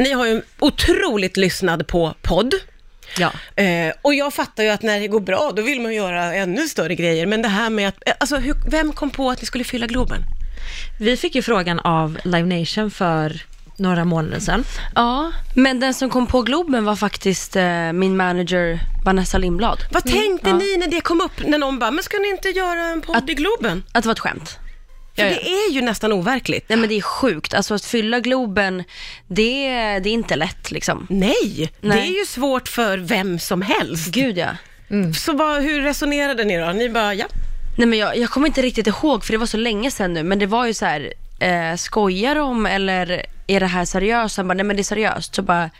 Ni har ju en otroligt lyssnad på podd. Ja. Eh, och jag fattar ju att när det går bra, då vill man ju göra ännu större grejer. Men det här med att, eh, alltså hur, vem kom på att ni skulle fylla Globen? Vi fick ju frågan av Live Nation för några månader sedan. Ja, men den som kom på Globen var faktiskt eh, min manager Vanessa Lindblad. Vad tänkte Mm, ni ja. när det kom upp, när någon bara, men ska ni inte göra en podd i Globen? Att det var ett skämt. För Ja, ja. det är ju nästan overkligt. Nej men det är sjukt, alltså att fylla Globen, det, det är inte lätt liksom. Nej, Nej. det är ju svårt för vem som helst. Gud ja. Så vad, hur resonerade ni då? Ni bara, ja. Nej men jag, jag kommer inte riktigt ihåg för det var så länge sedan nu, men det var ju så här, eh, skojar de eller är det här seriöst? Han bara, nej men det är seriöst. Så bara,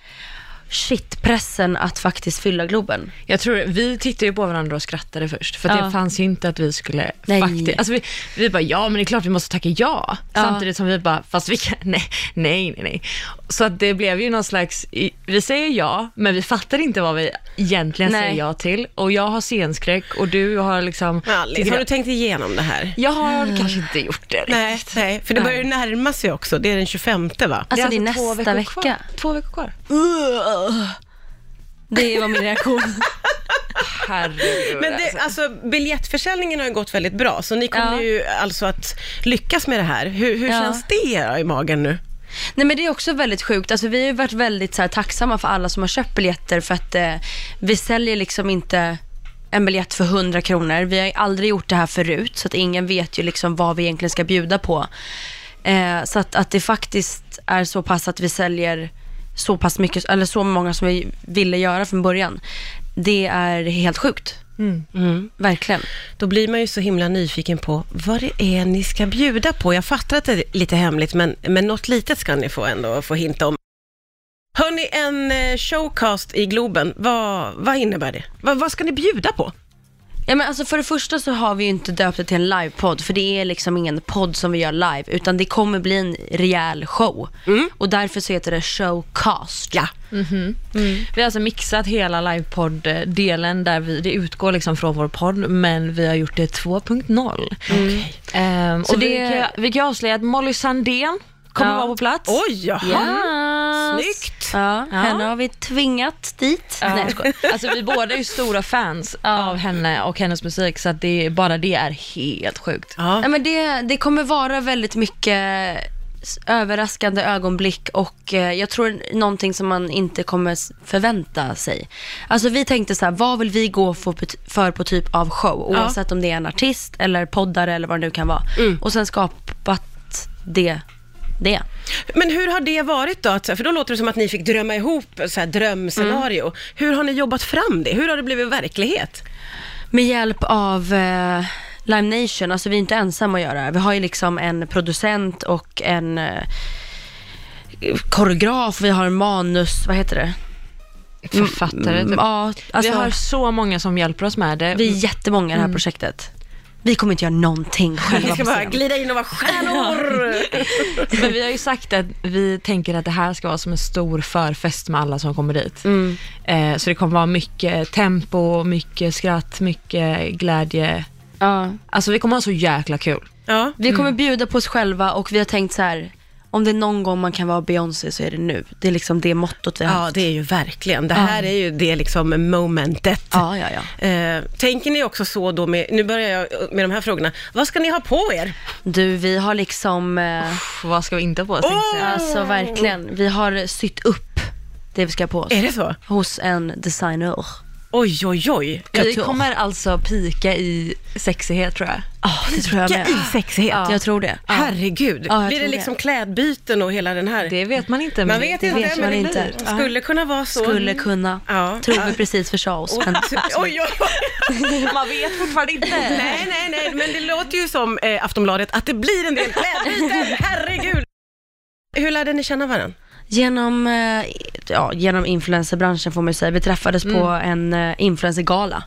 shit, pressen att faktiskt fylla Globen. Jag tror, vi tittade ju på varandra och skrattade först, för att Ja. det fanns ju inte att vi skulle Nej. faktiskt... Alltså vi, vi bara, ja men det är klart vi måste tacka ja. Ja. Samtidigt som vi bara, fast vi kan, nej, nej, nej, nej. Så att det blev ju någon slags, i- vi säger ja, men vi fattar inte vad vi egentligen Nej. säger ja till. Och jag har scenskräck och du har liksom... Alice, tycker har jag- du tänkt igenom det här? Jag har kanske inte gjort det Nej, riktigt. nej, för det börjar ju närma sig också. Det är den 25 va? Alltså det är, två veckor nästa vecka. Kvar. Två veckor kvar. Ugh. Det var min reaktion. Herregud. Men det, alltså. alltså, biljettförsäljningen har ju gått väldigt bra, så ni kommer Ja. ju alltså att lyckas med det här. Hur, hur Ja. känns det i magen nu? Nej men det är också väldigt sjukt. Alltså, vi har ju varit väldigt så här, tacksamma för alla som har köpt biljetter för att eh, vi säljer liksom inte en biljett för 100 kronor. Vi har ju aldrig gjort det här förut så att ingen vet ju liksom vad vi egentligen ska bjuda på. Eh, så att, att det faktiskt är så pass att vi säljer så pass mycket, eller så många som vi ville göra från början. Det är helt sjukt. Mm, Verkligen. Då blir man ju så himla nyfiken på vad det är ni ska bjuda på. Jag fattar att det är lite hemligt, men, men något litet ska ni få ändå få hinta om. Hör ni en eh, showcast i Globen, vad, vad innebär det? Vad, vad ska ni bjuda på? Ja, men alltså för det första så har vi ju inte döpt det till en livepodd för det är liksom ingen podd som vi gör live utan det kommer bli en rejäl show. Mm. Och därför så heter det showcast. Ja. Vi har alltså mixat hela livepodd-delen där vi, det utgår liksom från vår podd, men vi har gjort det 2.0. Ehm, och vi, Mm. det- kan, vi kan avslöja att Molly Sandén kommer Ja. vara på plats. Oj, jaha. Yes. Snyggt. Ja, Ja. henne har vi tvingat dit. Ja. Nej, jag skojar. alltså vi båda är ju stora fans Ja. av henne och hennes musik så att det, bara det är helt sjukt. Ja, men det, det kommer vara väldigt mycket s- överraskande ögonblick och eh, jag tror någonting som man inte kommer s- förvänta sig. Alltså vi tänkte så här, vad vill vi gå för, på t- för på typ av show? Oavsett om det är en artist eller poddare eller vad det nu kan vara. Och sen skapat det. det. Men hur har det varit då? Att- För då låter det som att ni fick drömma ihop så här drömscenario. Mm. Hur har ni jobbat fram det? Hur har det blivit verklighet? Med hjälp av eh, Live Nation, alltså vi är inte ensamma att göra det här. Vi har ju liksom en producent och en eh, koreograf, vi har en manus, vad heter det? Författare. Mm, typ. ja, alltså, vi har så många som hjälper oss med det. vi är jättemånga i det här projektet. Vi kommer inte göra någonting Ni själva ska på bara scen. glida in och vara stjärnor! Men vi har ju sagt att vi tänker att det här ska vara som en stor förfest med alla som kommer dit. Eh, så det kommer vara mycket tempo, mycket skratt, mycket glädje. Ja. Alltså vi kommer ha så jäkla kul. ja. Vi kommer bjuda på oss själva och vi har tänkt så här, om det är någon gång man kan vara Beyoncé så är det nu. Det är liksom det mottot vi har ja, haft. det är ju verkligen. Det här är ju det liksom momentet. Ja, ja, ja. Eh, tänker ni också så då med, nu börjar jag med de här frågorna, vad ska ni ha på er? Du, vi har liksom, eh, Pff, vad ska vi inte ha på oss? tänkte jag säga. alltså verkligen, vi har sytt upp det vi ska ha på oss. Är det så? Hos en designer. Oj, oj, oj. Vi kommer alltså pika i Oh! sexighet tror jag. Ja, det tror jag med. Vilka i sexighet. Ja. Jag tror det. Herregud. Ja, jag Blir det tror det. liksom klädbyten och hela den här? Det vet man inte. man vet inte, vet men man det inte. blir. Skulle kunna vara så. Skulle kunna. Ja. Tror vi precis försade oss. Men... Oj, oj, oj. Man vet fortfarande inte. Nej, nej, nej, men det låter ju som eh, Aftonbladet att det blir en del klädbyten, herregud. Hur lärde ni känna varandra? Mm. Genom, eh, ja, genom influencerbranschen får man ju säga. Vi träffades på en eh, influencergala.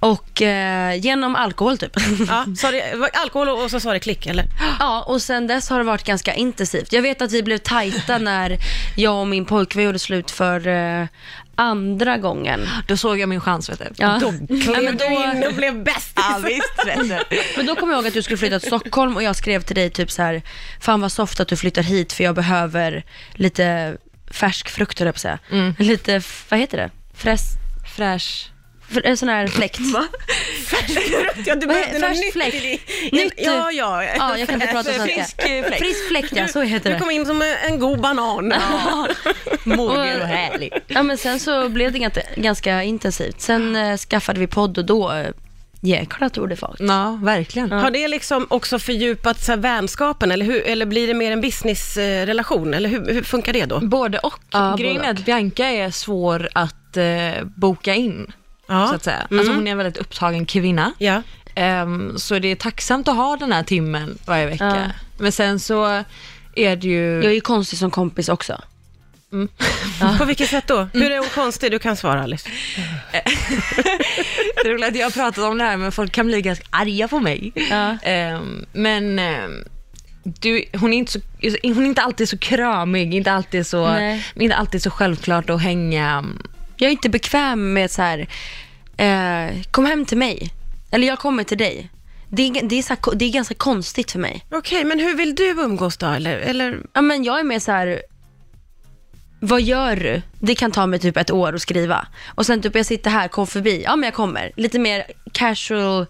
Och eh, genom alkohol typ. Ja, sa det, var alkohol och, och så sa det klick, eller? ja, och sen dess har det varit ganska intensivt. Jag vet att vi blev tajta när jag och min pojkvän gjorde slut för eh, andra gången. Då såg jag min chans vet du. Ja. Klev men du då- in och blev bästis? Ja, visst vet du. Men då kommer jag ihåg att du skulle flytta till Stockholm och jag skrev till dig typ så här, fan vad soft att du flyttar hit för jag behöver lite färsk frukt, höll jag på att säga. Mm. Lite, f- vad heter det? Fräs... Fräsch. fr- En sån här fläkt. Ja, du Vad behövde något he- färsk nytt fläkt? i din- Nytt- Ja, ja. Ja, jag kan inte prata svenska. Frisk fläkt. Frisk fläkt, ja. Så heter Du det. kom in som en god banan. Mogen och härlig. Ja, men sen så blev det ganska, ganska intensivt. Sen eh, skaffade vi podd och då eh, jäklar tog det fart. Ja, verkligen. Har det liksom också fördjupat så här, vänskapen eller, hur, eller blir det mer en businessrelation? Eller hur, hur funkar det då? Både och. Ja, Grejen både är att Bianca är svår att eh, boka in, Ja. så att säga. Alltså hon är en väldigt upptagen kvinna. Ja. Ehm, så det är tacksamt att ha den här timmen varje vecka. Men sen så är det ju... Jag är ju konstig som kompis också. På vilket sätt då? Hur är hon konstig? Du kan svara Alice. Det är roligt att jag har pratat om det här men folk kan bli ganska arga på mig. Ja. Ehm, men ehm, du, hon, är inte så, hon är inte alltid så kramig, inte alltid så, Nej. inte alltid så självklart att hänga. Jag är inte bekväm med så här, eh, kom hem till mig. Eller jag kommer till dig. Det är, det, är så här, det är ganska konstigt för mig. Okej, men hur vill du umgås då? Eller, eller Ja, men jag är mer så här, vad gör du? Det kan ta mig typ ett år att skriva. Och sen typ jag sitter här, kom förbi. Ja men jag kommer. Lite mer casual.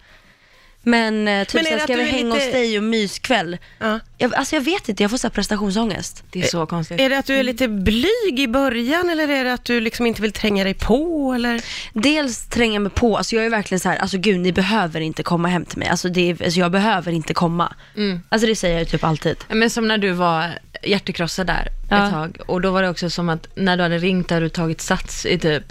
Men eh, typ Men är så här, det att ska du vi är hänga lite- hos dig och myskväll? Ja. Jag, alltså jag vet inte, jag får så här prestationsångest. Det är så konstigt. är det Mm. att du är lite blyg i början eller är det att du liksom inte vill tränga dig på? Eller? Dels tränga mig på, alltså jag är verkligen så här, alltså gud ni behöver inte komma hem till mig. Alltså, det är, alltså jag behöver inte komma. Mm. Alltså det säger jag ju typ alltid. Men som när du var hjärtekrossad där Ja. ett tag och då var det också som att när du hade ringt hade du tagit sats i typ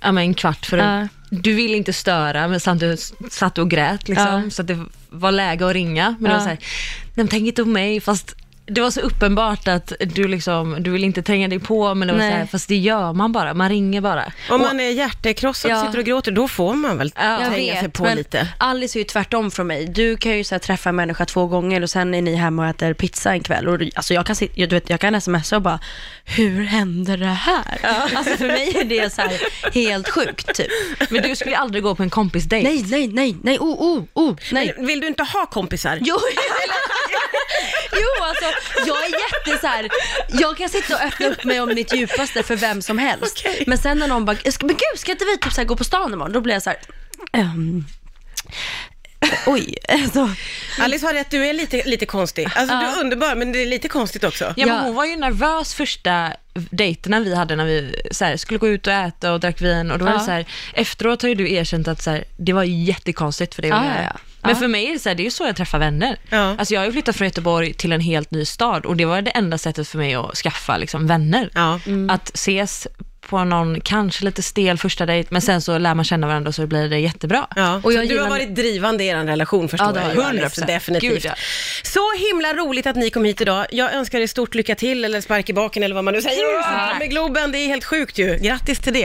ja, men en kvart för att du ville inte störa men samtidigt s- satt du och grät liksom, Ja. så att det var läge att ringa. Men det Ja. var så här, nej men tänk inte om mig fast det var så uppenbart att du liksom, du vill inte tränga dig på men det var Nej. så här, fast det gör man bara, man ringer bara. Om man är hjärtekrossad och Ja. sitter och gråter, då får man väl Ja. tränga sig på men lite? Alice är ju tvärtom från mig. Du kan ju så här träffa en människa två gånger och sen är ni hemma och äter pizza en kväll. Och, alltså jag, kan, sit- jag- du vet, jag kan smsa och bara, hur händer det här? Alltså för mig är det så här helt sjukt typ. Men du skulle aldrig gå på en kompisdejt. Nej, nej, nej, nej, oh, oh, oh, nej. Men Vill du inte ha kompisar? Jo, jo alltså, jag är jätte så här, jag kan sitta och öppna upp mig om mitt djupaste för vem som helst. Okej. Men sen när någon bara, "Ska- men gud ska inte vi typ så här gå på stan imorgon? Då blir jag så här, ehm, oj. Alltså, Alice har rätt, du är lite, lite konstig. Alltså du är underbar, men det är lite konstigt också. Ja, men Ja. hon var ju nervös första dejterna vi hade när vi så här, skulle gå ut och äta och drack vin och då var Ja. det så här, efteråt har ju du erkänt att så här, det var jättekonstigt för dig att Ja, göra. ja, ja. Men Ja. för mig är det så här, det är ju så jag träffar vänner. Ja. Alltså jag har ju flyttat från Göteborg till en helt ny stad och det var det enda sättet för mig att skaffa liksom, vänner. Ja. Mm. Att ses på någon kanske lite stel första dejt men sen så lär man känna varandra och så blir det jättebra. Ja, Och jag så du har gillar- varit drivande i er relation förstår Ja, det har jag. jag. 100%. 100%. Definitivt. Gud, ja. Så himla roligt att ni kom hit idag. Jag önskar er stort lycka till eller spark i baken eller vad man nu säger. med Globen, det är helt sjukt ju. Grattis till det.